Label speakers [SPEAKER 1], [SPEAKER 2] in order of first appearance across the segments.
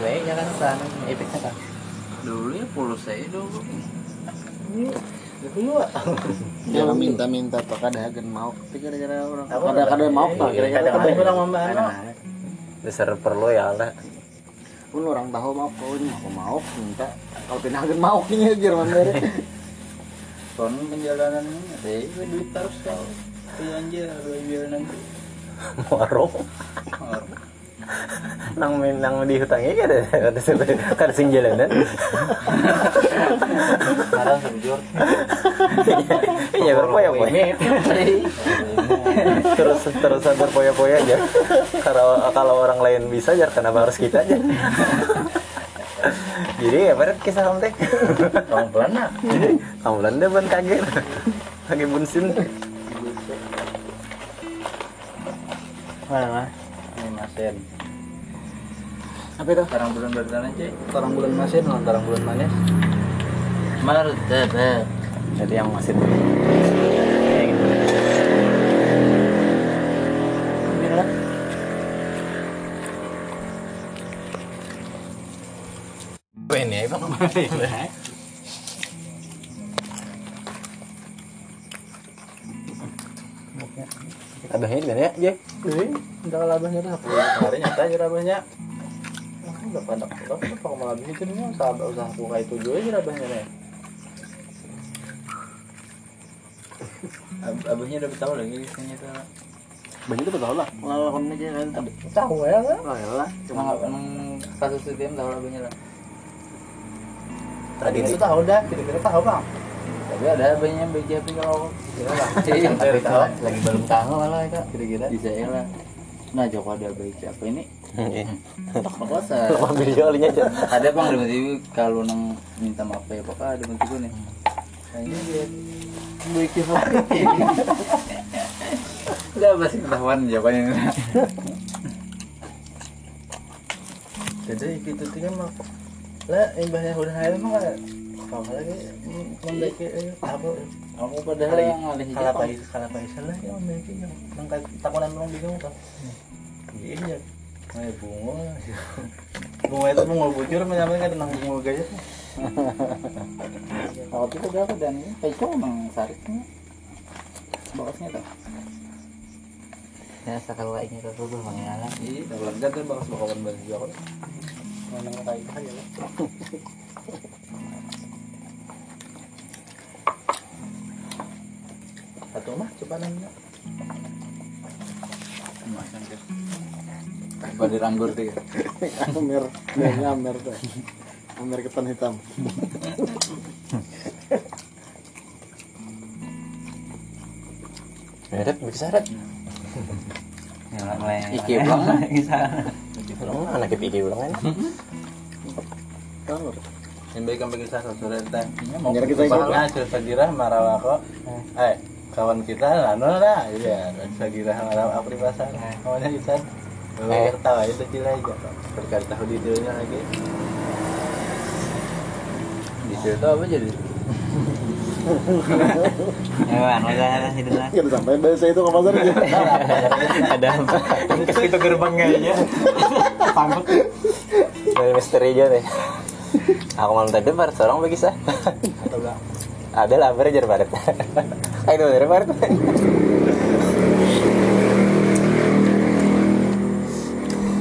[SPEAKER 1] baiknya kan sana efeknya kan
[SPEAKER 2] dulu ya pulus aja dulu
[SPEAKER 1] itu juga
[SPEAKER 3] Jangan Ya, minta-minta tuh kadang mau kira-kira orang
[SPEAKER 1] Aku
[SPEAKER 3] kadang-kadang mau tuh kira-kira Nah,
[SPEAKER 1] kadang
[SPEAKER 3] kabeh.
[SPEAKER 1] orang mama anak
[SPEAKER 4] besar perlu ya lah
[SPEAKER 3] pun orang tahu mau kau ini aku mau minta kalau pinahagen mau nih Jerman dari
[SPEAKER 2] kon penjalanan ini ada juga duit terus kau belanja belanja nanti
[SPEAKER 4] warung nang main nang di hutangnya ya ada ada sebe- ada sing jalanan
[SPEAKER 1] sekarang sebujur
[SPEAKER 4] iya berpoya poya terus terusan berpoya poya aja kalau kalau orang lain bisa jar kenapa harus kita aja jadi ya berat kisah om teh
[SPEAKER 1] orang pelana
[SPEAKER 4] om Belanda ban kaget kaget bunsin
[SPEAKER 1] mana
[SPEAKER 2] ini masen
[SPEAKER 3] apa itu
[SPEAKER 2] sekarang bulan berjalan aja
[SPEAKER 3] orang bulan masin lawan orang bulan manis
[SPEAKER 2] Maret deh
[SPEAKER 4] jadi yang masih ini bang Abahnya di mana ya, Jay?
[SPEAKER 1] ini udah labahnya dah kemarin nyata aja labahnya aku udah pandang kalau kalau malah ya? begitu nih sahabat usaha aku kayak itu juga aja labahnya nih
[SPEAKER 2] Ab abahnya udah tahu lagi isinya tuh
[SPEAKER 3] banyak itu betul lah lawan aja kan tadi
[SPEAKER 1] tahu ya kan
[SPEAKER 3] oh ya lah cuma
[SPEAKER 2] emang emang kasus itu yang tahu lagunya lah
[SPEAKER 1] tadi itu tahu dah kira-kira tahu bang
[SPEAKER 2] tapi ada abahnya bagi api kalau
[SPEAKER 1] kira bang
[SPEAKER 2] Iya,
[SPEAKER 1] Tapi
[SPEAKER 2] tahu.
[SPEAKER 1] tahu lagi belum tahu lah kak kira-kira
[SPEAKER 2] bisa ya lah nah Joko ada abah siapa ini
[SPEAKER 4] Iya.
[SPEAKER 2] Pokoknya
[SPEAKER 4] Lepas video olinya aja.
[SPEAKER 2] ada bang di TV kalau nang minta maaf ya pokoknya ada bentuk nih
[SPEAKER 3] Iya.
[SPEAKER 2] kayaknya dia gue kira nggak pasti ketahuan jawabannya
[SPEAKER 1] jadi gitu tiga mah lah imbasnya udah hari mah nggak tahu lagi memiliki eh, apa
[SPEAKER 2] kamu pada
[SPEAKER 1] Kalau-
[SPEAKER 3] gitu.
[SPEAKER 2] yang ada
[SPEAKER 1] kalau
[SPEAKER 2] hijab
[SPEAKER 1] pagi kalau pagi salah ya memiliki yang mengkat takunan orang bingung tuh iya Ay, bunga iya. bunga itu bunga bujur menyampaikan tentang bunga gajah
[SPEAKER 2] waktu itu berapa dan Peco emang sariknya bakasnya tuh
[SPEAKER 1] ya sekali lagi itu tuh bang ya
[SPEAKER 2] iya kalau enggak tuh bakas bakalan balik Joko
[SPEAKER 1] mana kayak aja lah satu mah coba nanya
[SPEAKER 2] pada ranggur deh
[SPEAKER 3] Amer kayaknya Amer tuh Amer ketan hitam
[SPEAKER 2] Ya,
[SPEAKER 4] Merep, bisa rep.
[SPEAKER 1] Iya,
[SPEAKER 2] iki bang
[SPEAKER 4] Ulang lah, anak kepikir ulang kan.
[SPEAKER 3] kalau
[SPEAKER 2] yang baik kan sampai kisah sore teh
[SPEAKER 1] Iya,
[SPEAKER 2] mau
[SPEAKER 3] Biar kita ikut.
[SPEAKER 2] bahas cerita dirah marawa kok
[SPEAKER 1] Hmm.
[SPEAKER 2] eh kawan kita lano lah iya cerita dirah marawa apa di pasar
[SPEAKER 1] Hmm.
[SPEAKER 2] kawannya kita
[SPEAKER 4] Eh.
[SPEAKER 2] Bawa tahu itu cila aja kok berkali tahu di dunia lagi di situ apa jadi
[SPEAKER 5] Eh,
[SPEAKER 1] Hewan,
[SPEAKER 5] anu
[SPEAKER 1] udah hidup lah.
[SPEAKER 3] nggak sampai bahasa itu ke pasar aja
[SPEAKER 4] Ada apa?
[SPEAKER 1] Ke situ gerbangnya aja. Sangkut.
[SPEAKER 4] Dari misteri aja deh. Aku malam tadi baru seorang bagi sah. Ada lah belajar barat. Ayo itu dari barat.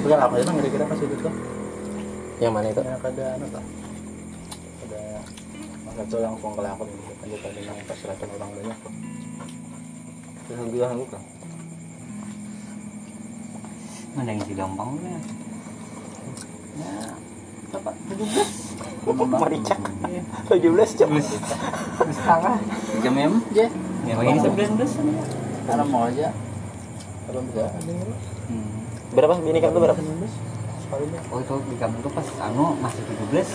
[SPEAKER 1] Bukan apa itu kira-kira pas itu tuh.
[SPEAKER 4] Yang mana itu?
[SPEAKER 1] Yang ada anu tuh. Ada masa tuh langsung kelakon gitu. Ada tadi yang perseratan orang banyak.
[SPEAKER 2] terus bilang lu kan
[SPEAKER 1] Ada yang si gampang kan.
[SPEAKER 5] Ya,
[SPEAKER 4] Marica. 17 jam.
[SPEAKER 1] Setengah.
[SPEAKER 2] jam em je
[SPEAKER 1] Ya
[SPEAKER 2] bang.
[SPEAKER 1] sebelas belas
[SPEAKER 2] karena mau aja
[SPEAKER 1] Kalau bisa ada yang
[SPEAKER 4] Berapa bini kamu tuh berapa?
[SPEAKER 1] Sekalinya.
[SPEAKER 5] Hmm. Oh itu di kampung tuh pas anu masih 17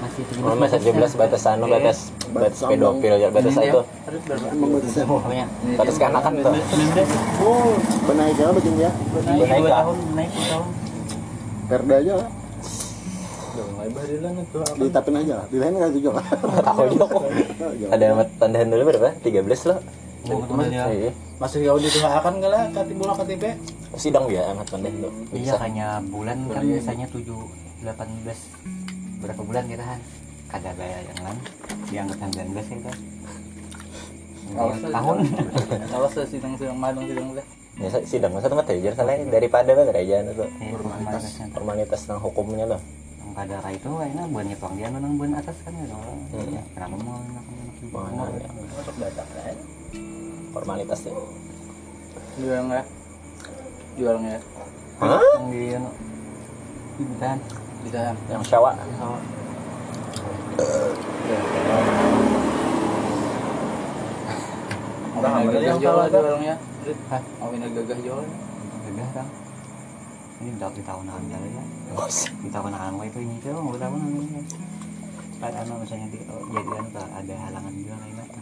[SPEAKER 5] masih 17
[SPEAKER 4] Oh, masa 17 batas anu
[SPEAKER 5] Iya.
[SPEAKER 4] batas batas pedofil ya batas
[SPEAKER 1] Iya.
[SPEAKER 2] Iya.
[SPEAKER 4] itu.
[SPEAKER 1] Ada berapa?
[SPEAKER 3] emang bahasa saya
[SPEAKER 5] Oh ya
[SPEAKER 4] Batas
[SPEAKER 1] Iya.
[SPEAKER 4] kanak-kanak tuh.
[SPEAKER 3] oh benaik ya bikin ya
[SPEAKER 4] Naik
[SPEAKER 1] Naik
[SPEAKER 4] lah.
[SPEAKER 1] tahun, naik dua tahun.
[SPEAKER 3] perda aja lah
[SPEAKER 1] Udah mulai barilan itu. apa?
[SPEAKER 3] ditapin aja lah di lain nggak tujuh lah
[SPEAKER 4] Tahu juga kok. Ada tandaan dulu berapa? 13 loh.
[SPEAKER 1] Oh, ketemu dia.
[SPEAKER 4] Iya.
[SPEAKER 2] masih jauh di tengah akan nggak lah KTP bola KTP
[SPEAKER 4] Sidang dia amat pendek tuh.
[SPEAKER 1] Iya
[SPEAKER 4] Bisa.
[SPEAKER 1] kayaknya bulan kan biasanya 7 18 berapa bulan kita kan kagak bayar yang lain dianggap 19 kita gitu. Iya, tahun
[SPEAKER 6] Awas lah sidang-sidang madang sidang udah.
[SPEAKER 4] Biasa Ya, sidang masa tempat aja salah daripada kan aja itu
[SPEAKER 1] Ya, formalitasnya.
[SPEAKER 4] formalitas tentang hukumnya loh.
[SPEAKER 1] Yang pada kayak itu kayaknya buat nyetong dia nang buat atas kan ya orang Ya, kenapa mau anak
[SPEAKER 4] Mana ya?
[SPEAKER 2] Oh,
[SPEAKER 6] Masuk batak kan.
[SPEAKER 4] Formalitas ya.
[SPEAKER 6] Jual nggak? Jual nggak?
[SPEAKER 4] Hah?
[SPEAKER 1] yang di anu di hutan
[SPEAKER 6] Bisa.
[SPEAKER 4] Yang syawa.
[SPEAKER 6] Orang
[SPEAKER 2] Nah,
[SPEAKER 6] nggak
[SPEAKER 2] yang
[SPEAKER 6] jual
[SPEAKER 2] salah tuh.
[SPEAKER 6] jualnya. Hah? Awin gagah jual.
[SPEAKER 1] gagah kan ini udah di tahun lalu ya
[SPEAKER 4] Bos.
[SPEAKER 1] di tahun lalu anu, itu ini tuh nggak tahu namanya kan anu misalnya di oh, jadian tuh ada halangan juga lain apa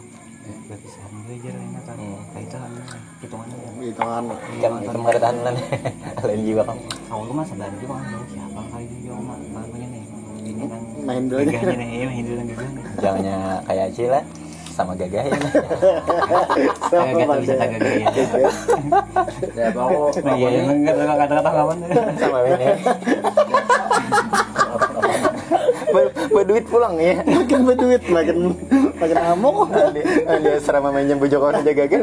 [SPEAKER 1] perpisahan gue aja lain apa
[SPEAKER 4] Hmm.
[SPEAKER 1] kayak itu anu hitungannya ya.
[SPEAKER 3] di tangan
[SPEAKER 4] Jam itu mereka tahanan. Lain jiwa kamu.
[SPEAKER 1] awal gue masa bantu kan siapa kali juga mak bantunya nih ini kan
[SPEAKER 3] main dulu
[SPEAKER 1] gagahnya nih iya, main dulu gagah nih
[SPEAKER 4] Jamnya kayak Cila sama gagah ya.
[SPEAKER 3] sama
[SPEAKER 1] kagak tuh bisa
[SPEAKER 3] aja
[SPEAKER 1] kagak gaya
[SPEAKER 6] Ya bawa.
[SPEAKER 1] Nah, iya iya nggak tahu kata-kata kapan
[SPEAKER 4] sama ini.
[SPEAKER 3] Ber- berduit pulang ya makin berduit makin makin amok
[SPEAKER 4] Ada serama main jembu Jokowi aja gagahnya.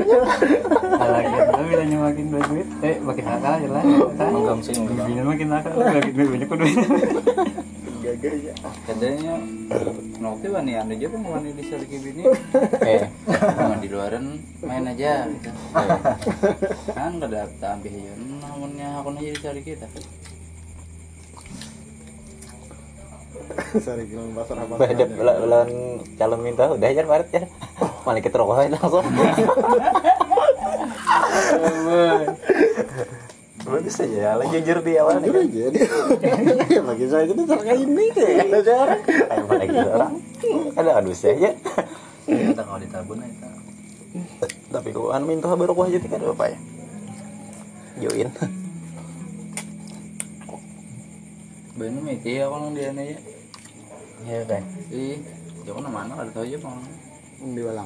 [SPEAKER 1] lagi gitu. tapi bila makin banyak duit eh makin nakal aja lah
[SPEAKER 6] Enggak sih enggak.
[SPEAKER 1] Bibirnya makin nakal makin banyak kok duit
[SPEAKER 6] Katanya Nokia wani anu aja kan wani bisa lagi bini.
[SPEAKER 4] Eh,
[SPEAKER 6] Jangan di luaran main aja gitu. Kan kada tak ambil aja. Namunnya aku aja dicari kita.
[SPEAKER 3] sorry gimana pasar apa
[SPEAKER 4] badep lawan calon minta udah aja Maret ya. Malah kita rokok aja langsung. Bagus aja, lagi jujur di awal nih.
[SPEAKER 3] Jujur aja dia Ya, bagi saya jadi terkait ini kayak ada Iya, jarang
[SPEAKER 4] Ayo malah gitu orang. Ada adus aja.
[SPEAKER 6] Kita kalau ditabun itu.
[SPEAKER 4] Tapi kalau anu minta baru kuah jadi kan apa ya? Join.
[SPEAKER 6] Bener miti aku nang dia aja.
[SPEAKER 4] Iya kan.
[SPEAKER 6] Ih, jangan nama anak ada tahu aja bang.
[SPEAKER 3] di balang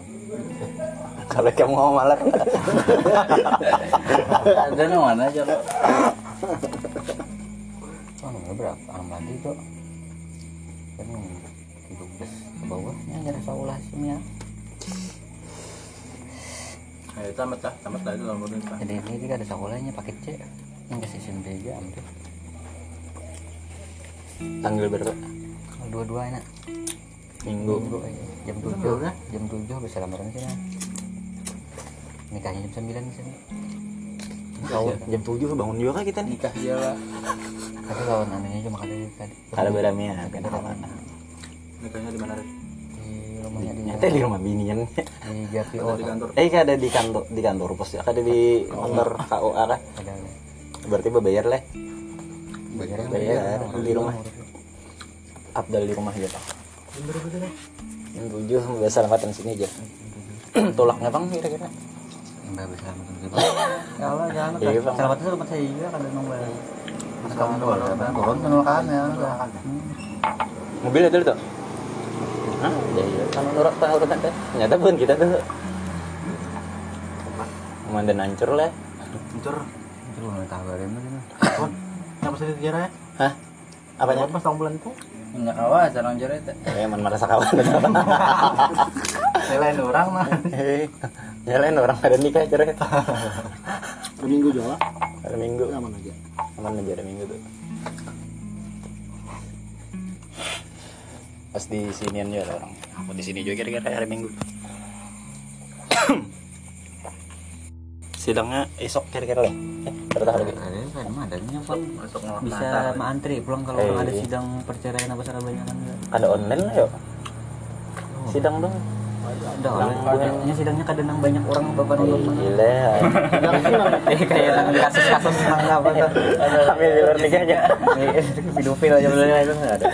[SPEAKER 4] Kalau kamu mau malah
[SPEAKER 6] Ada nama mana aja lo.
[SPEAKER 1] Oh, nomor berapa? Enam lagi itu. Kan tiga belas ke bawahnya ada evaluasinya.
[SPEAKER 6] Ayo tamat lah, tamat lah itu lah menurut Pak.
[SPEAKER 1] Jadi ini juga ada sekolahnya paket C. Yang ke season B aja hampir.
[SPEAKER 4] tanggal berapa?
[SPEAKER 1] Kalau dua-dua enak.
[SPEAKER 4] Minggu.
[SPEAKER 1] Minggu aja. Jam tujuh. Jam tujuh bisa lamaran sini. Nikahnya jam sembilan di sini.
[SPEAKER 4] Kau jam 7 bangun juga kah kita nih?
[SPEAKER 6] Nikah aja lah.
[SPEAKER 1] Tapi lawan anunya cuma kali tadi.
[SPEAKER 4] Kalau beramia kan mana?
[SPEAKER 6] Nikahnya di mana? Red?
[SPEAKER 1] Di rumahnya di
[SPEAKER 4] Nyata di rumah binian.
[SPEAKER 1] di JPO.
[SPEAKER 6] Di kantor.
[SPEAKER 4] Eh kan ada di kantor di kantor pos ya, kan ada di kantor KUA kan?
[SPEAKER 1] Ada.
[SPEAKER 4] Berarti bebayar lah.
[SPEAKER 1] Bayar
[SPEAKER 4] Bayar di rumah. Abdal di rumah aja pak. Jam 7 biasa lewatan sini aja. Tolaknya bang kira-kira?
[SPEAKER 1] Mbak bisa lamaran sini. Kalau jangan.
[SPEAKER 4] Iya, Bang.
[SPEAKER 1] Selamat itu rumah saya juga kan nunggu.
[SPEAKER 4] Mobil ada tuh. Hah? Ya iya. Kalau orang tahu kan ada. Ternyata pun kita tuh. Komandan hancur lah.
[SPEAKER 2] Hancur.
[SPEAKER 1] Itu belum kabarin lagi nih.
[SPEAKER 2] Kon, Kenapa sih sejarah ya?
[SPEAKER 4] Hah? Apanya?
[SPEAKER 2] Pas tahun bulan itu?
[SPEAKER 6] Minyak awas, orang jari itu.
[SPEAKER 4] Ya, emang merasa kawan.
[SPEAKER 2] Selain orang mah.
[SPEAKER 4] Hei, nyalain orang ada nikah cerai.
[SPEAKER 3] Per minggu jawa
[SPEAKER 4] Hari Minggu.
[SPEAKER 3] aman aja
[SPEAKER 4] Aman aja hari Minggu tuh. Pas di sinian aja ada orang. Aku di sini juga kira-kira hari Minggu. Sidangnya esok kira-kira lah. Eh, ternyata hari Minggu.
[SPEAKER 1] Ada kan mah ada nyampe.
[SPEAKER 6] Masuk ngelak
[SPEAKER 1] Bisa
[SPEAKER 6] mata.
[SPEAKER 1] antri pulang kalau
[SPEAKER 4] Eh.
[SPEAKER 1] orang ada sidang perceraian apa segala banyak kan.
[SPEAKER 4] Ada online lah yuk. Sidang dong.
[SPEAKER 1] Udah orang banyaknya sidangnya kadang nang banyak orang bapak nonton.
[SPEAKER 4] Gila.
[SPEAKER 1] Eh Iya. kayak nang kasus-kasus nang apa tuh.
[SPEAKER 4] Ambil di luar nikah aja.
[SPEAKER 1] Pedofil aja benar itu enggak ada.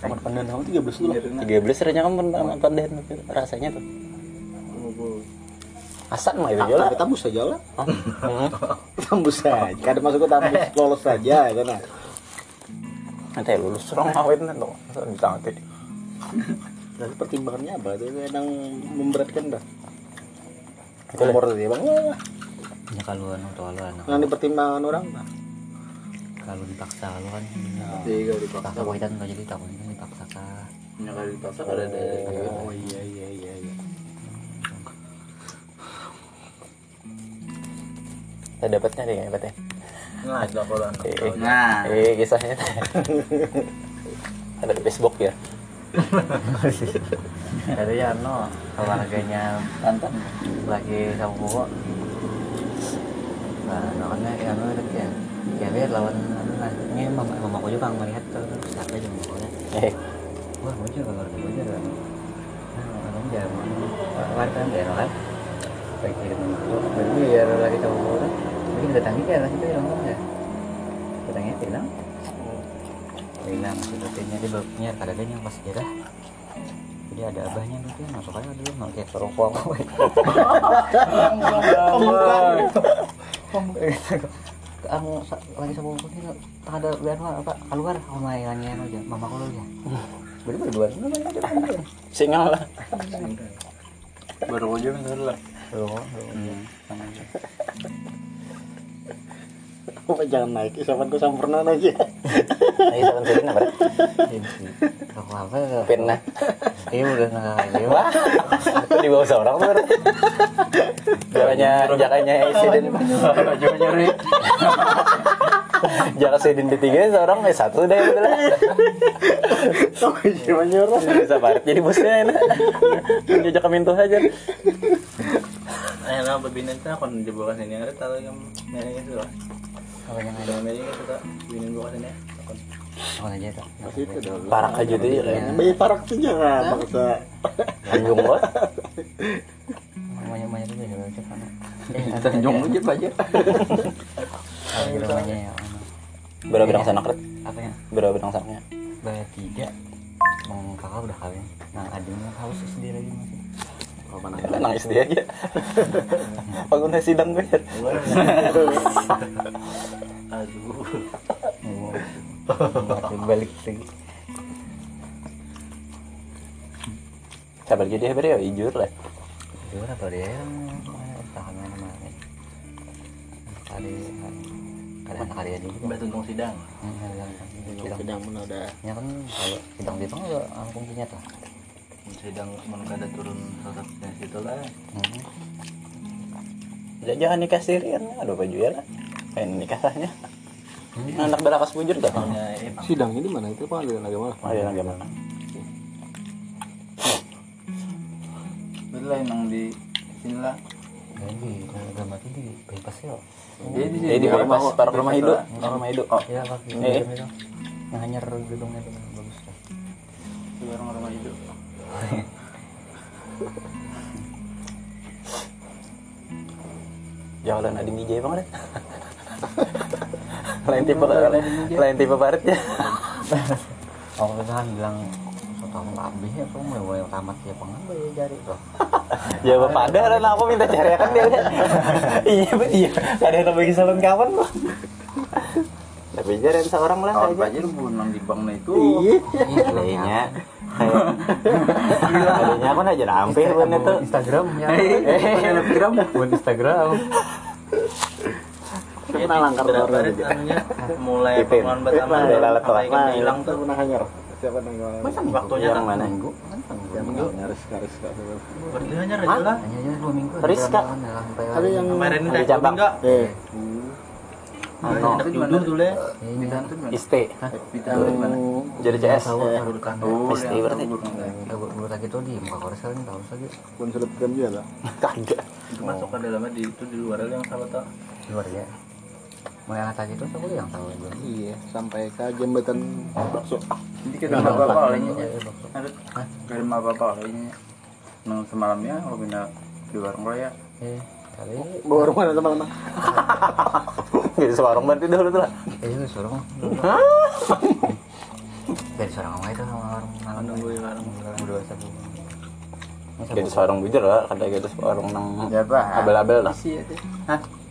[SPEAKER 3] kamar pandan kamu tiga belas dulu
[SPEAKER 4] 13 rasanya kamu pernah pandai rasanya tuh. Asan mah itu Oh. aja lah.
[SPEAKER 3] tapi tambus aja lah
[SPEAKER 4] Heeh.
[SPEAKER 3] tambus aja kada masuk ke tambus lolos saja kan
[SPEAKER 4] Nanti lulus orang awet nanti dong. Bisa nanti.
[SPEAKER 3] Lalu pertimbangannya apa? Nah, Itu kadang memberatkan dah.
[SPEAKER 4] Itulah.
[SPEAKER 3] Umur dia bang, wah,
[SPEAKER 1] ya kalau anu tuh lu anak
[SPEAKER 6] Kan?
[SPEAKER 3] yang dipertimbangkan orang mah.
[SPEAKER 1] kalau dipaksa lu kan
[SPEAKER 6] Iya,
[SPEAKER 3] Tiga
[SPEAKER 1] paksa kuitan nggak jadi takutnya kan dipaksa kah
[SPEAKER 6] Ya kalau dipaksa kalau ada
[SPEAKER 2] oh iya iya iya iya
[SPEAKER 4] Saya dapatnya deh nggak dapatnya.
[SPEAKER 6] Nah, itu kalau anak.
[SPEAKER 4] Eh, eh.
[SPEAKER 6] Nah,
[SPEAKER 4] Eh kisahnya. Ada di Facebook ya.
[SPEAKER 1] katanya anu olahraganya Tantan lagi sama Bowo nah makanya ya anu itu ya ya biar lawan anu lah ini mama mama aku juga ngelihat tuh siapa aja mama aku
[SPEAKER 4] Eh,
[SPEAKER 1] wah aku juga kalau aku juga kan nah orang jamu kan kan ya kan baik dari mama aku tapi ya lagi sama Bowo kan mungkin datangnya kayak lah kita yang ngomong ya datangnya bilang bilang sebetulnya dia babnya kadang yang pas jerah jadi ada abahnya gitu ya masuk aja dulu nggak kayak perokok kamu Anu, sa- lagi sama aku gitu tak ada biar mah apa keluar aku mainannya aja mama ya? aku aja beli berdua
[SPEAKER 4] singal lah.
[SPEAKER 2] baru aja bener lah
[SPEAKER 1] Hmm.
[SPEAKER 3] Apa jangan naik? Isapan ku sampurna aja.
[SPEAKER 4] Ayo sama Serena berat.
[SPEAKER 1] rokok apa ya?
[SPEAKER 4] Pirna.
[SPEAKER 1] iya udah nggak kayak
[SPEAKER 4] Wah, itu di bawah seorang tuh. berat. Jaranya, jakanya Aiden.
[SPEAKER 2] nyuri
[SPEAKER 4] Jaka Aiden di tiga seorang eh satu deh udah lah.
[SPEAKER 3] Oh, iya menyuruh.
[SPEAKER 4] Bisa barat jadi bosnya enak. Menjajak mintu aja.
[SPEAKER 6] eh nah berbinin tuh kon jebakan sini ada tahu yang merahnya itu lah.
[SPEAKER 1] apa yang ada
[SPEAKER 6] Ada merahnya itu tak binin bukan sini. ya. Kon
[SPEAKER 1] apa aja tuh
[SPEAKER 3] Itu dong.
[SPEAKER 4] Parak aja deh. lah.
[SPEAKER 3] Bayi parak tuh jangan paksa.
[SPEAKER 4] Anjung bos.
[SPEAKER 1] banyak banyak tuh ya baca kamu
[SPEAKER 2] tanjung aja aja
[SPEAKER 1] rumahnya ya anu.
[SPEAKER 4] Berapa bidang sanak Red?
[SPEAKER 1] apa ya
[SPEAKER 4] Berapa bidang sanaknya?
[SPEAKER 1] bayar tiga Mau kakak udah kawin nah adiknya haus sendiri lagi masih
[SPEAKER 3] Oh, mana?
[SPEAKER 4] Kan Nangis dia aja. Bangunnya sidang ber.
[SPEAKER 6] aduh.
[SPEAKER 1] Mau balik lagi
[SPEAKER 4] Sabar jadi ber ya ijur lah.
[SPEAKER 1] Gimana tuh dia yang tahanan kemarin? Kali kali kali aja gitu.
[SPEAKER 6] Batu tong sidang.
[SPEAKER 1] Hmm, ada yang- ada yang bidang.
[SPEAKER 3] Sedang mana udah.
[SPEAKER 1] Ya kan kalau bidang bidang juga langsung punya tuh.
[SPEAKER 6] Sidang menurut ada turun sosok dari situ lah.
[SPEAKER 1] Hmm.
[SPEAKER 4] Ya, jangan nikah sirian aduh baju ya lah pengen nikah sahnya anak berakas bujur tuh
[SPEAKER 6] Tahunnya emang.
[SPEAKER 3] Sidangnya di mana itu? Pengadilan agama.
[SPEAKER 4] oh iya gimana
[SPEAKER 6] Betul lah emang di sini lah.
[SPEAKER 1] Jadi Ya, kalau gambar itu di bebas ya.
[SPEAKER 6] Jadi
[SPEAKER 4] jadi Iya, di
[SPEAKER 6] rumah
[SPEAKER 4] pas parok rumah hidup parok rumah hidup oh
[SPEAKER 1] Ya kaki
[SPEAKER 4] Iya, iya.
[SPEAKER 6] Eh?
[SPEAKER 1] bidang itu. Yang hanya gedungnya itu bagus tuh.
[SPEAKER 6] di warung rumah hidup.
[SPEAKER 4] jalan ada DJ bang deh lain tipe lain tipe barat ya
[SPEAKER 1] Oh kan bilang setahun lebih ya tuh mau mau tamat ya pengambil ya jari tuh.
[SPEAKER 4] jawab pada lah aku minta cari kan dia Ren. iya bet iya Gak ada yang bagi salon kawan kok tapi jaran seorang lah
[SPEAKER 6] Tahun
[SPEAKER 4] kayaknya
[SPEAKER 6] aja Ya, lu nang di bank nah itu.
[SPEAKER 3] Iya.
[SPEAKER 4] kayaknya kayak- kayaknya aku aja nampil bener tuh
[SPEAKER 1] Instagram ya.
[SPEAKER 6] Eh,
[SPEAKER 1] Instagram buat Instagram.
[SPEAKER 3] Saya
[SPEAKER 6] Iya,
[SPEAKER 3] pernah langgar
[SPEAKER 6] Berapa
[SPEAKER 3] baru
[SPEAKER 6] hari
[SPEAKER 3] juga.
[SPEAKER 6] tahunya? mulai
[SPEAKER 4] Ipin.
[SPEAKER 6] pengeluaran pertama
[SPEAKER 4] Ipin. Lalat
[SPEAKER 6] sampai
[SPEAKER 4] telak.
[SPEAKER 6] kita hilang
[SPEAKER 3] Saya
[SPEAKER 6] tuh
[SPEAKER 3] pernah hanyar. Siapa nanya?
[SPEAKER 1] Masa
[SPEAKER 6] waktunya kan.
[SPEAKER 4] yang Iya,
[SPEAKER 6] tak
[SPEAKER 4] mana
[SPEAKER 3] Yang nyaris karis kak.
[SPEAKER 6] berarti hanya aja lah
[SPEAKER 1] Hanya aja dua minggu. ya,
[SPEAKER 4] Rizka.
[SPEAKER 3] Tapi yang
[SPEAKER 6] kemarin
[SPEAKER 4] Ada
[SPEAKER 6] teh
[SPEAKER 4] cabang.
[SPEAKER 6] enggak
[SPEAKER 3] eh
[SPEAKER 6] ada enak judul tuh le
[SPEAKER 1] Bintang tuh
[SPEAKER 4] iste
[SPEAKER 6] kita
[SPEAKER 3] yang
[SPEAKER 4] jadi
[SPEAKER 1] Iya,
[SPEAKER 4] CS
[SPEAKER 1] bukan
[SPEAKER 4] iste berarti
[SPEAKER 1] Kalau buat lagi tuh di muka korsel ini tahu saja
[SPEAKER 3] mensulitkan juga lah.
[SPEAKER 4] kagak
[SPEAKER 6] itu masuk ke dalamnya di itu di luar yang salah tak
[SPEAKER 1] luar ya. Mau yang tadi tuh aku yang tahu gue.
[SPEAKER 3] Iya, Ah, sampai ke jembatan bakso.
[SPEAKER 6] jadi kita nggak apa-apa olehnya ada nggak ada apa-apa olehnya nang semalamnya ya, kalau pindah di warung raya
[SPEAKER 1] Eh, kali
[SPEAKER 3] Bawa rumah ada teman-teman.
[SPEAKER 4] Gak bisa warung berarti dulu tuh lah
[SPEAKER 1] eh itu suruh. Dari seorang orang itu sama orang malam
[SPEAKER 6] nunggu di warung
[SPEAKER 1] berdua satu.
[SPEAKER 4] Jadi seorang bujur lah Kata gitu seorang nang
[SPEAKER 6] siapa
[SPEAKER 4] Abel-abel lah
[SPEAKER 6] sih itu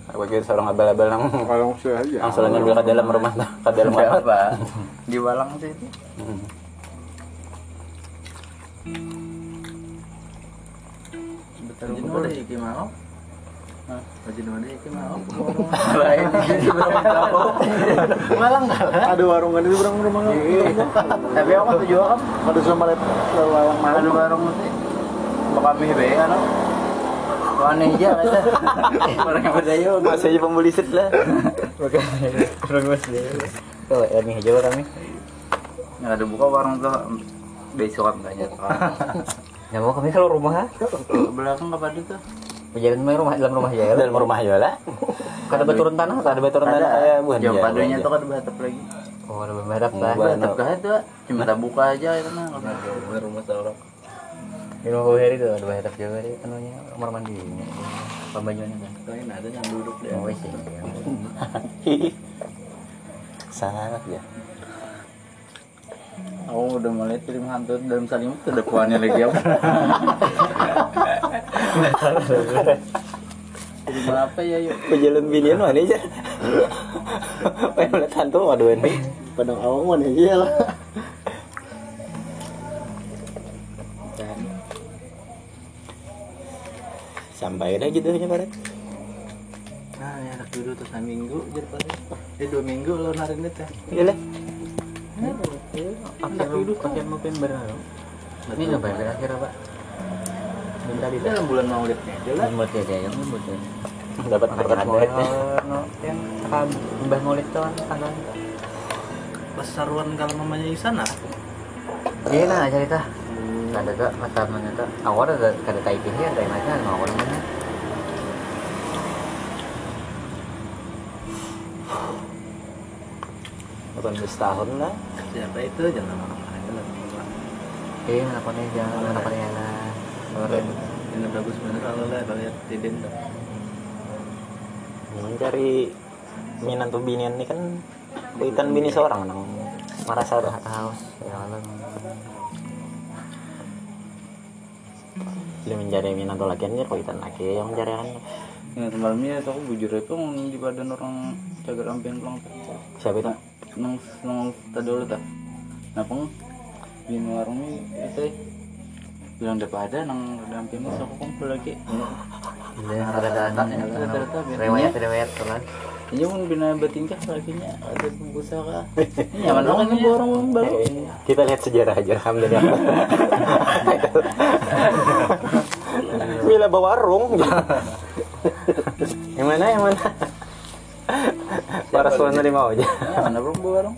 [SPEAKER 4] Aku kira seorang abel-abel nang
[SPEAKER 3] Kalau saya aja.
[SPEAKER 4] Nang selalu nyambil ke dalam rumah tuh Ke dalam kamar
[SPEAKER 6] di walang sih itu
[SPEAKER 4] Hmm.
[SPEAKER 6] Rajin mana ya Ki Mao? Rajin mana ya Ki Mao?
[SPEAKER 2] Malang kalah.
[SPEAKER 3] Ada warungan itu berang rumah
[SPEAKER 2] Tapi aku tuh juga kan
[SPEAKER 3] Ada sama lewat lewat mana?
[SPEAKER 2] Aduh warung mesti. Bakal mie be
[SPEAKER 6] anu.
[SPEAKER 2] kan. Wani aja kata. Orang yang berdaya.
[SPEAKER 4] Masih aja pembeli set lah. Kalau ini aja orang nih.
[SPEAKER 6] Nggak ada buka warung tuh besok kan nggak nyata.
[SPEAKER 1] Nggak Ya, mau kami kalau rumah
[SPEAKER 6] Belakang kapan itu?
[SPEAKER 1] Jalan main rumah dalam rumah aja
[SPEAKER 4] Dalam rumah aja lah.
[SPEAKER 1] Kada beturun tanah
[SPEAKER 4] Ada Iya. betul tanah kayak buah
[SPEAKER 6] Jam padunya tuh kan batap lagi.
[SPEAKER 1] Oh, lebih merap lah.
[SPEAKER 4] Buah
[SPEAKER 6] Batap kah itu? Cuma tak buka aja itu mah.
[SPEAKER 2] Rumah seorang.
[SPEAKER 1] Di rumah gue hari itu ada merap juga hari anunya kamar mandinya. Pembangunan kan.
[SPEAKER 6] Kalian ada yang duduk deh.
[SPEAKER 1] Mau sih.
[SPEAKER 4] Sangat ya.
[SPEAKER 6] Aku udah mulai film hantu dalam salimut tuh dapuannya lagi apa? Film apa ya yuk?
[SPEAKER 4] Pejalan binian mana aja. Pengen melihat hantu waduh ini.
[SPEAKER 3] Padang awang mana iya lah.
[SPEAKER 4] Sampai dah gitu aja Barat.
[SPEAKER 6] Nah, ya anak dulu tuh satu minggu jadi pasti. Eh dua minggu lo narik duit ya?
[SPEAKER 4] Iya lah.
[SPEAKER 1] Akhir
[SPEAKER 4] kan.
[SPEAKER 1] akhir November lalu. Ini
[SPEAKER 4] ya?
[SPEAKER 1] November akhir apa? Bentar di
[SPEAKER 6] Ini dalam bulan mau lihat aja lah.
[SPEAKER 1] Lembut ya dia, yang lembut ya.
[SPEAKER 4] Dapat berkat banget ya.
[SPEAKER 1] Yang mbah ngulit tuh kan tanggal.
[SPEAKER 6] Pas saruan kalau mamanya di sana.
[SPEAKER 1] Iya nah cerita. Kada tuh masalahnya tuh. Awal ada kada typing ya, typing aja mau orang mana.
[SPEAKER 4] Bukan setahun lah.
[SPEAKER 6] Siapa itu jangan lama-lama aja lah.
[SPEAKER 1] Iya, menapannya jangan menapannya lah.
[SPEAKER 6] Ini bagus bener kalau lah kalau lihat di denda.
[SPEAKER 4] Mencari minan tuh binian ini kan kuitan bini seorang nang merasa dah.
[SPEAKER 1] Haus, ya Allah.
[SPEAKER 4] Dia mencari minan tuh lagi anjir kuitan lagi yang mencari kan.
[SPEAKER 6] Nah semalamnya aku bujur itu di badan orang cagar ampian pulang.
[SPEAKER 4] Siapa itu?
[SPEAKER 6] Nong nong tadi dulu tak. Nah peng di warung ini itu eh, bilang daripada nang ada ampian aku kumpul lagi.
[SPEAKER 1] Iya, ada
[SPEAKER 6] Rata-rata ya,
[SPEAKER 1] Rewayat, rewayat, telan.
[SPEAKER 6] Iya pun bina batingkah lakinya ada pengusaha kah? Nyaman dong ini orang orang baru.
[SPEAKER 4] Eh, Kita lihat sejarah aja alhamdulillah. Mila bawa warung. yang mana yang mana? Para suami dari mau aja.
[SPEAKER 6] Nyaman orang bawa orang.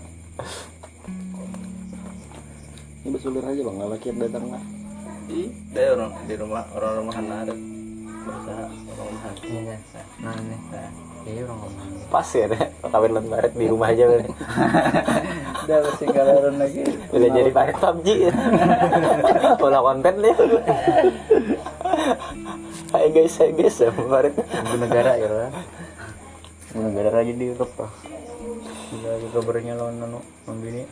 [SPEAKER 3] Ini bersulir aja bang, lelaki yang datang lah.
[SPEAKER 6] Di dari orang di rumah orang rumahan ada pengusaha orang rumahan.
[SPEAKER 1] Iya, nah ini. Iya, orang ngomong.
[SPEAKER 4] Pas ya, deh. kawin lan baret di rumah aja. Bang.
[SPEAKER 6] Udah tinggal orang lagi.
[SPEAKER 4] Udah jadi baret PUBG. Pola konten nih. Hai guys, hai guys, ya baret.
[SPEAKER 1] Ibu negara ya lah. Ibu negara aja di Europe lah. Gila aja kabarnya lawan nano lawan bini.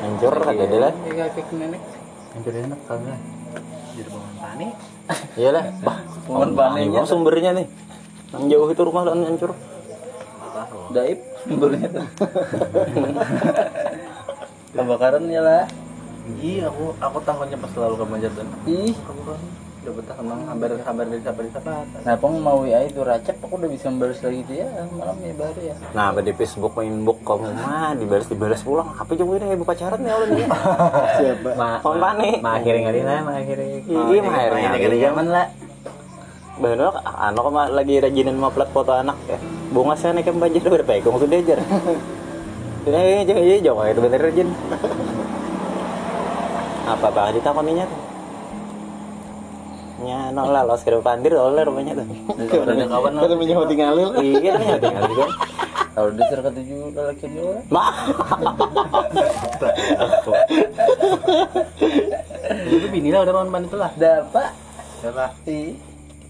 [SPEAKER 4] Hancur kata dia lah.
[SPEAKER 6] Iya kayak nenek.
[SPEAKER 1] Hancur enak kan
[SPEAKER 6] ya?
[SPEAKER 1] lah.
[SPEAKER 6] Di rumah tani.
[SPEAKER 4] Iyalah, bah.
[SPEAKER 6] Pohon panennya.
[SPEAKER 4] Bang, sumbernya nih. Yang jauh itu rumah lan hancur.
[SPEAKER 6] Daib sumbernya tuh. Kebakaran ya lah. Iya aku aku takutnya pas selalu ke Banjarton. Ih aku kan udah betah emang kabar kabar dari kabar dari kabar. Nah pong mau ya itu racap aku udah bisa membalas lagi tuh ya malam ya baru ya.
[SPEAKER 4] Nah, di Facebook inbox kamu mah dibalas dibalas pulang. Apa jauh ini ibu pacaran ya Allah.
[SPEAKER 3] Siapa?
[SPEAKER 1] Ma,
[SPEAKER 4] Pohon panik.
[SPEAKER 1] ma akhirnya ngali lah, ma akhirnya.
[SPEAKER 4] Iya, mah akhirnya
[SPEAKER 6] Kali zaman lah.
[SPEAKER 4] Benar, anu mah lagi rajinin mau plat foto anak ya. Bunga saya naik banjir udah baik, kamu sudah ajar. Ini jangan jadi jauh itu bener rajin. Apa apa ditakoninya tuh? Ya, nol lah, los kira pandir, nol lah rumahnya tuh.
[SPEAKER 6] Ada kawan
[SPEAKER 3] Kita punya hoti ngalil.
[SPEAKER 4] Iya, nih, tinggal juga.
[SPEAKER 6] Kalau dasar ke tujuh lelaki dua orang.
[SPEAKER 4] Mah,
[SPEAKER 6] Itu bini lah udah makan pan itu lah. Dapat. Dapat. Ih.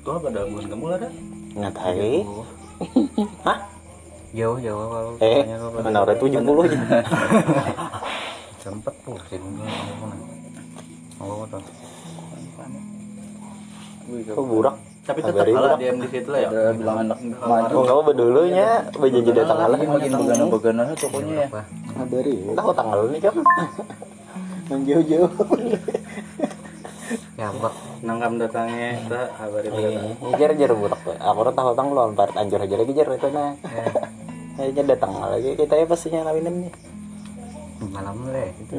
[SPEAKER 6] Tuh apa ada hubungan kamu lah dah.
[SPEAKER 4] nggak tahu. Hah?
[SPEAKER 1] Jauh jauh kalau
[SPEAKER 4] Eh,
[SPEAKER 1] tanya kalau
[SPEAKER 4] mana orang tujuh puluh aja.
[SPEAKER 1] sempet pusing gue ngomong. Ngomong tuh.
[SPEAKER 4] Kok burak?
[SPEAKER 6] tapi tetap
[SPEAKER 4] Kabarin
[SPEAKER 6] kalah
[SPEAKER 4] budak.
[SPEAKER 6] diam di situ lah ya
[SPEAKER 2] Udah bilang anak maju.
[SPEAKER 4] Oh, kamu bedulunya, berjanji datang lah.
[SPEAKER 2] Ini
[SPEAKER 6] Iya,
[SPEAKER 2] makin begana-begana tokonya ya.
[SPEAKER 1] Apa?
[SPEAKER 3] Kabari
[SPEAKER 4] Tahu tanggal nih kan?
[SPEAKER 3] yang jauh-jauh.
[SPEAKER 1] Ngambek.
[SPEAKER 6] nangkam datangnya kita kabarin datang
[SPEAKER 4] Iya, Ngejar jar budak tuh. Aku udah tahu tanggal lawan part anjur aja lagi jar itu nah.
[SPEAKER 3] Iya.
[SPEAKER 4] Kayaknya datang lagi kita ya pastinya lawinan nih.
[SPEAKER 1] Malam gitu. leh. Itu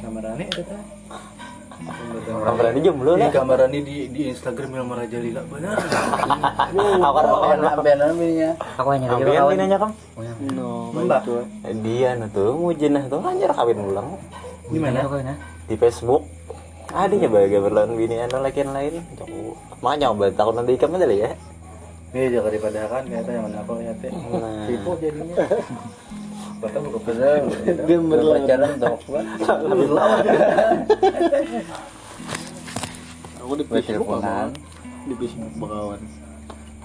[SPEAKER 6] gambarannya itu kan
[SPEAKER 4] Kamu
[SPEAKER 3] Iya.
[SPEAKER 4] berani jomblo
[SPEAKER 6] Ih,
[SPEAKER 4] lah.
[SPEAKER 6] gambarannya di di Instagram yang meraja lila benar
[SPEAKER 4] Aku kan pengen
[SPEAKER 3] Iya,
[SPEAKER 4] lah.
[SPEAKER 1] aku hanya lagi
[SPEAKER 4] Ambil
[SPEAKER 1] kawan.
[SPEAKER 4] ini aja kam.
[SPEAKER 3] No,
[SPEAKER 6] Mbak.
[SPEAKER 3] itu.
[SPEAKER 4] Dia nah tuh mau jenah tuh anjir kawin ulang
[SPEAKER 6] Gimana?
[SPEAKER 1] Aku ini.
[SPEAKER 4] di Facebook. Ada ya bagai berlawan bini anu lagi yang lain. Jauh. Makanya obat takut nanti ikam aja lah ya.
[SPEAKER 6] Iya juga daripada kan ternyata yang mana aku lihatnya
[SPEAKER 4] Nah.
[SPEAKER 6] tipu jadinya. Kata buka
[SPEAKER 3] Gemerlap.
[SPEAKER 2] Pacaran tau kuat.
[SPEAKER 3] Aku di
[SPEAKER 2] Buat
[SPEAKER 3] Facebook
[SPEAKER 2] teleponan.
[SPEAKER 3] apa? Di Facebook bakawan.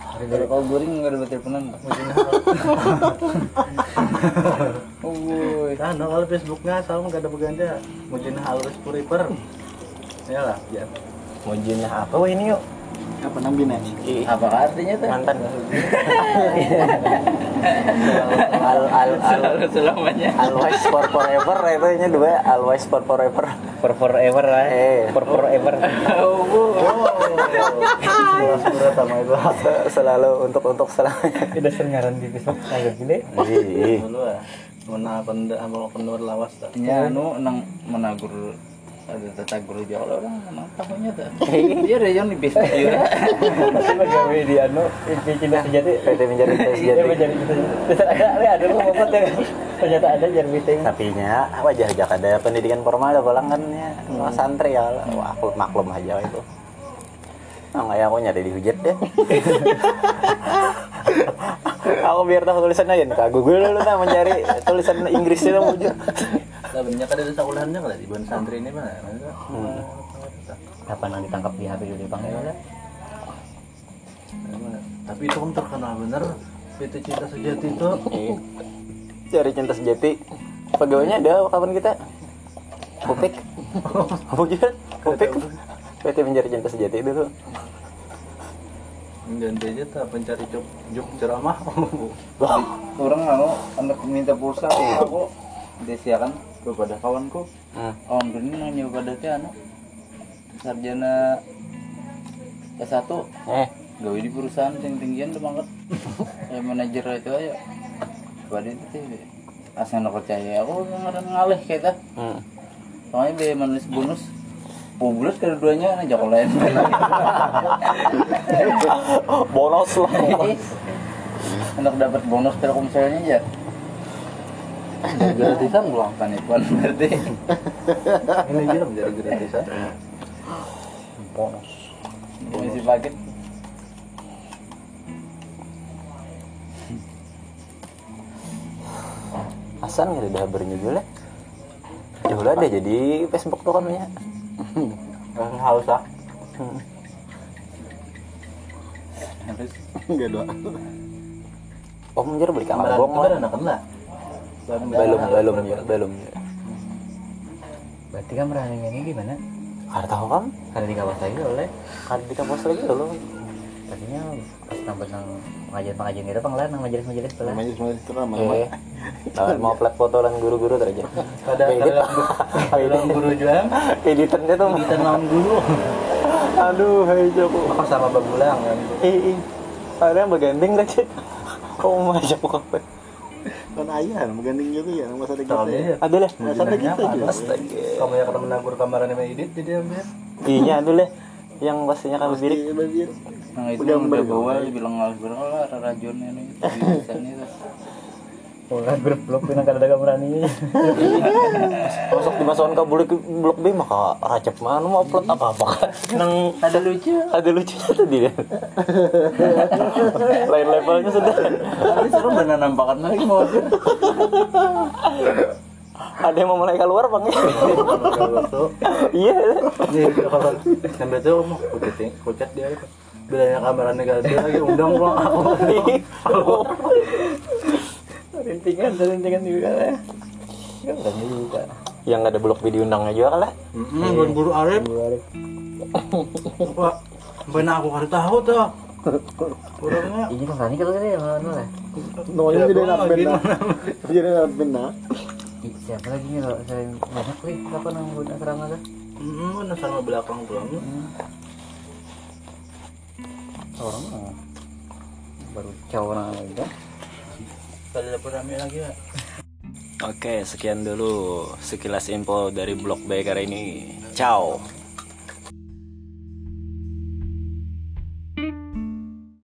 [SPEAKER 2] Kalau kau goreng nggak ada buat teleponan.
[SPEAKER 6] Woi, nah, kalau Facebooknya sama nggak ada beganda. Mungkin halus puriper. Ya lah, ya.
[SPEAKER 4] Mau jenah apa wah ini yuk?
[SPEAKER 3] Apa nang bina?
[SPEAKER 2] Apa artinya tuh?
[SPEAKER 4] Mantan.
[SPEAKER 2] Al al al
[SPEAKER 6] Selamanya.
[SPEAKER 4] Always for forever itu nya dua ya. always for forever.
[SPEAKER 1] For forever lah.
[SPEAKER 4] Eh.
[SPEAKER 1] For forever.
[SPEAKER 6] Surat sama itu.
[SPEAKER 4] selalu untuk untuk selamanya.
[SPEAKER 1] Udah sering ngaran di Facebook. Kagak gile.
[SPEAKER 4] Ih,
[SPEAKER 6] Dulu ah. Mana penda sama penur lawas tak?
[SPEAKER 2] Ya, nu nang menagur ada tata guru jauh lah orang nang tahunya tuh. Dia ada yang di Facebook ya.
[SPEAKER 1] Pegawai dia nu impi cinta sejati.
[SPEAKER 4] Nah, PT menjadi kita
[SPEAKER 1] Dia
[SPEAKER 4] sejati.
[SPEAKER 1] menjadi kita. gitu. Terus ada ada ada lu ngomong tuh. Ternyata ada jar meeting.
[SPEAKER 4] Tapi nya wajah jak ada pendidikan formal ada bolang kan ya.
[SPEAKER 1] Hmm.
[SPEAKER 4] Wah, santri ya. Wah, aku maklum aja itu. Ah, nggak ya aku nyari dihujat deh. aku biar tahu tulisan aja nih, Kak Google dulu nah mencari tulisan Inggrisnya mau hujat.
[SPEAKER 6] Lah banyak ada desa ulahannya nggak di Bon Santri ini mana?
[SPEAKER 4] Hmm.
[SPEAKER 1] Kapan nanti tangkap di HP dulu bang?
[SPEAKER 4] Ya,
[SPEAKER 6] Mana? Tapi itu kan terkenal bener. Itu cinta sejati itu.
[SPEAKER 4] Iya. Cari cinta sejati. Pegawainya ada kapan kita? Kupik. Apa gitu? Kupik. PT mencari cinta sejati itu tuh.
[SPEAKER 6] Ganti aja tuh pencari juk juk ceramah.
[SPEAKER 2] Orang anu anak minta pulsa aku desiakan kepada kawanku.
[SPEAKER 4] Hmm.
[SPEAKER 2] Om Deni nanya kepada teh anu sarjana S1
[SPEAKER 4] Eh,
[SPEAKER 2] gawe di perusahaan yang tinggian tuh banget. Kayak manajer itu aja. Kepada itu teh asa anu percaya aku ngaran ngalih kita.
[SPEAKER 4] hmm.
[SPEAKER 2] Soalnya biaya manis bonus Pubulus kedua-duanya aja kalau lain
[SPEAKER 4] bonus lah.
[SPEAKER 2] Untuk dapat bonus telkomselnya ya Gratisan pulang kan Ipan berarti
[SPEAKER 6] Ini aja menjadi gratisan.
[SPEAKER 4] bonus.
[SPEAKER 2] Isi paket
[SPEAKER 4] Asan nggak ada habernya juga. Dulu ada jadi Facebook tuh kan ya.
[SPEAKER 6] Haus ah.
[SPEAKER 2] Habis
[SPEAKER 3] Enggak doa.
[SPEAKER 4] Om jadi Oh, beli kamar
[SPEAKER 6] Kemarin
[SPEAKER 4] bong lah.
[SPEAKER 6] kemarin akan lah.
[SPEAKER 4] Belum, belum, ya, belum.
[SPEAKER 1] Berarti kan merahnya gimana?
[SPEAKER 4] Karena tahu kan?
[SPEAKER 1] Karena di kawas lagi oleh.
[SPEAKER 4] Karena di kampus lagi dulu.
[SPEAKER 1] Tadinya pas nambah nang pengajian-pengajian gitu pengelar nang majelis-majelis tuh lah.
[SPEAKER 3] Namanya semua itu nama.
[SPEAKER 4] Eh, lawan mau plat foto lan guru-guru teraja.
[SPEAKER 6] Ada
[SPEAKER 4] Edit.
[SPEAKER 6] belum guru juang.
[SPEAKER 4] Editannya tuh.
[SPEAKER 6] Kita naon guru.
[SPEAKER 4] Aduh, hai Joko.
[SPEAKER 6] Apa sama babulang kan?
[SPEAKER 4] Eh, eh. Ada yang bergandeng tadi. Kau mau ajak aku apa?
[SPEAKER 3] Kan ayah, mengganding gitu ya, masa ada kita.
[SPEAKER 6] Soalnya
[SPEAKER 4] Ada lah.
[SPEAKER 3] Masa ada kita juga.
[SPEAKER 4] Astaga.
[SPEAKER 6] kamu yang pernah menagur kamaran sama Edit jadi ambil.
[SPEAKER 4] Iya, ada lah. Yang pastinya kamu bilik.
[SPEAKER 3] Iya, Babir.
[SPEAKER 2] Nah itu
[SPEAKER 3] Udah
[SPEAKER 2] udah,
[SPEAKER 3] beli.
[SPEAKER 2] bawa dia bilang ngalah berapa lah Rajon ini Gratisan itu
[SPEAKER 6] Oh,
[SPEAKER 1] Pengelar grup blok pinang kada ada merahnya.
[SPEAKER 4] Masuk dimasukkan ke blok blok B maka racap mana mau upload apa apa kan? Nang
[SPEAKER 2] Ada lucu
[SPEAKER 4] ada lucunya tadi dia. Lain levelnya sudah.
[SPEAKER 2] Tapi seru bener nampakan lagi mau
[SPEAKER 4] Ada yang mau mulai keluar bang?
[SPEAKER 6] iya,
[SPEAKER 4] Iya.
[SPEAKER 6] Jadi kalau sampai tuh Kan mau kucet kucet dia itu. Bilanya kamaran negatif lagi undang pulang aku.
[SPEAKER 1] Rintingan, rintingan juga ya. lah.
[SPEAKER 6] Iya,
[SPEAKER 4] Yang nggak ada blok B diundangnya juga lah.
[SPEAKER 6] Hmm, bukan guru Arif.
[SPEAKER 1] Dua hari.
[SPEAKER 6] Pak, benar aku kan tahu tuh. Orangnya
[SPEAKER 1] ini kan tadi kalau tadi sama Anwar ya
[SPEAKER 3] Namanya jadi anak band lah. Jadi anak band lah.
[SPEAKER 1] Ih, siapa lagi nih kalau saya banyak wih kenapa nang buat asrama tuh
[SPEAKER 6] hmm, mana sama belakang pulang.
[SPEAKER 1] orang mah baru cowok kan? nang aja
[SPEAKER 6] Tadi dapur rame lagi ya.
[SPEAKER 4] Oke, sekian dulu sekilas info dari blog baik hari ini. Ciao.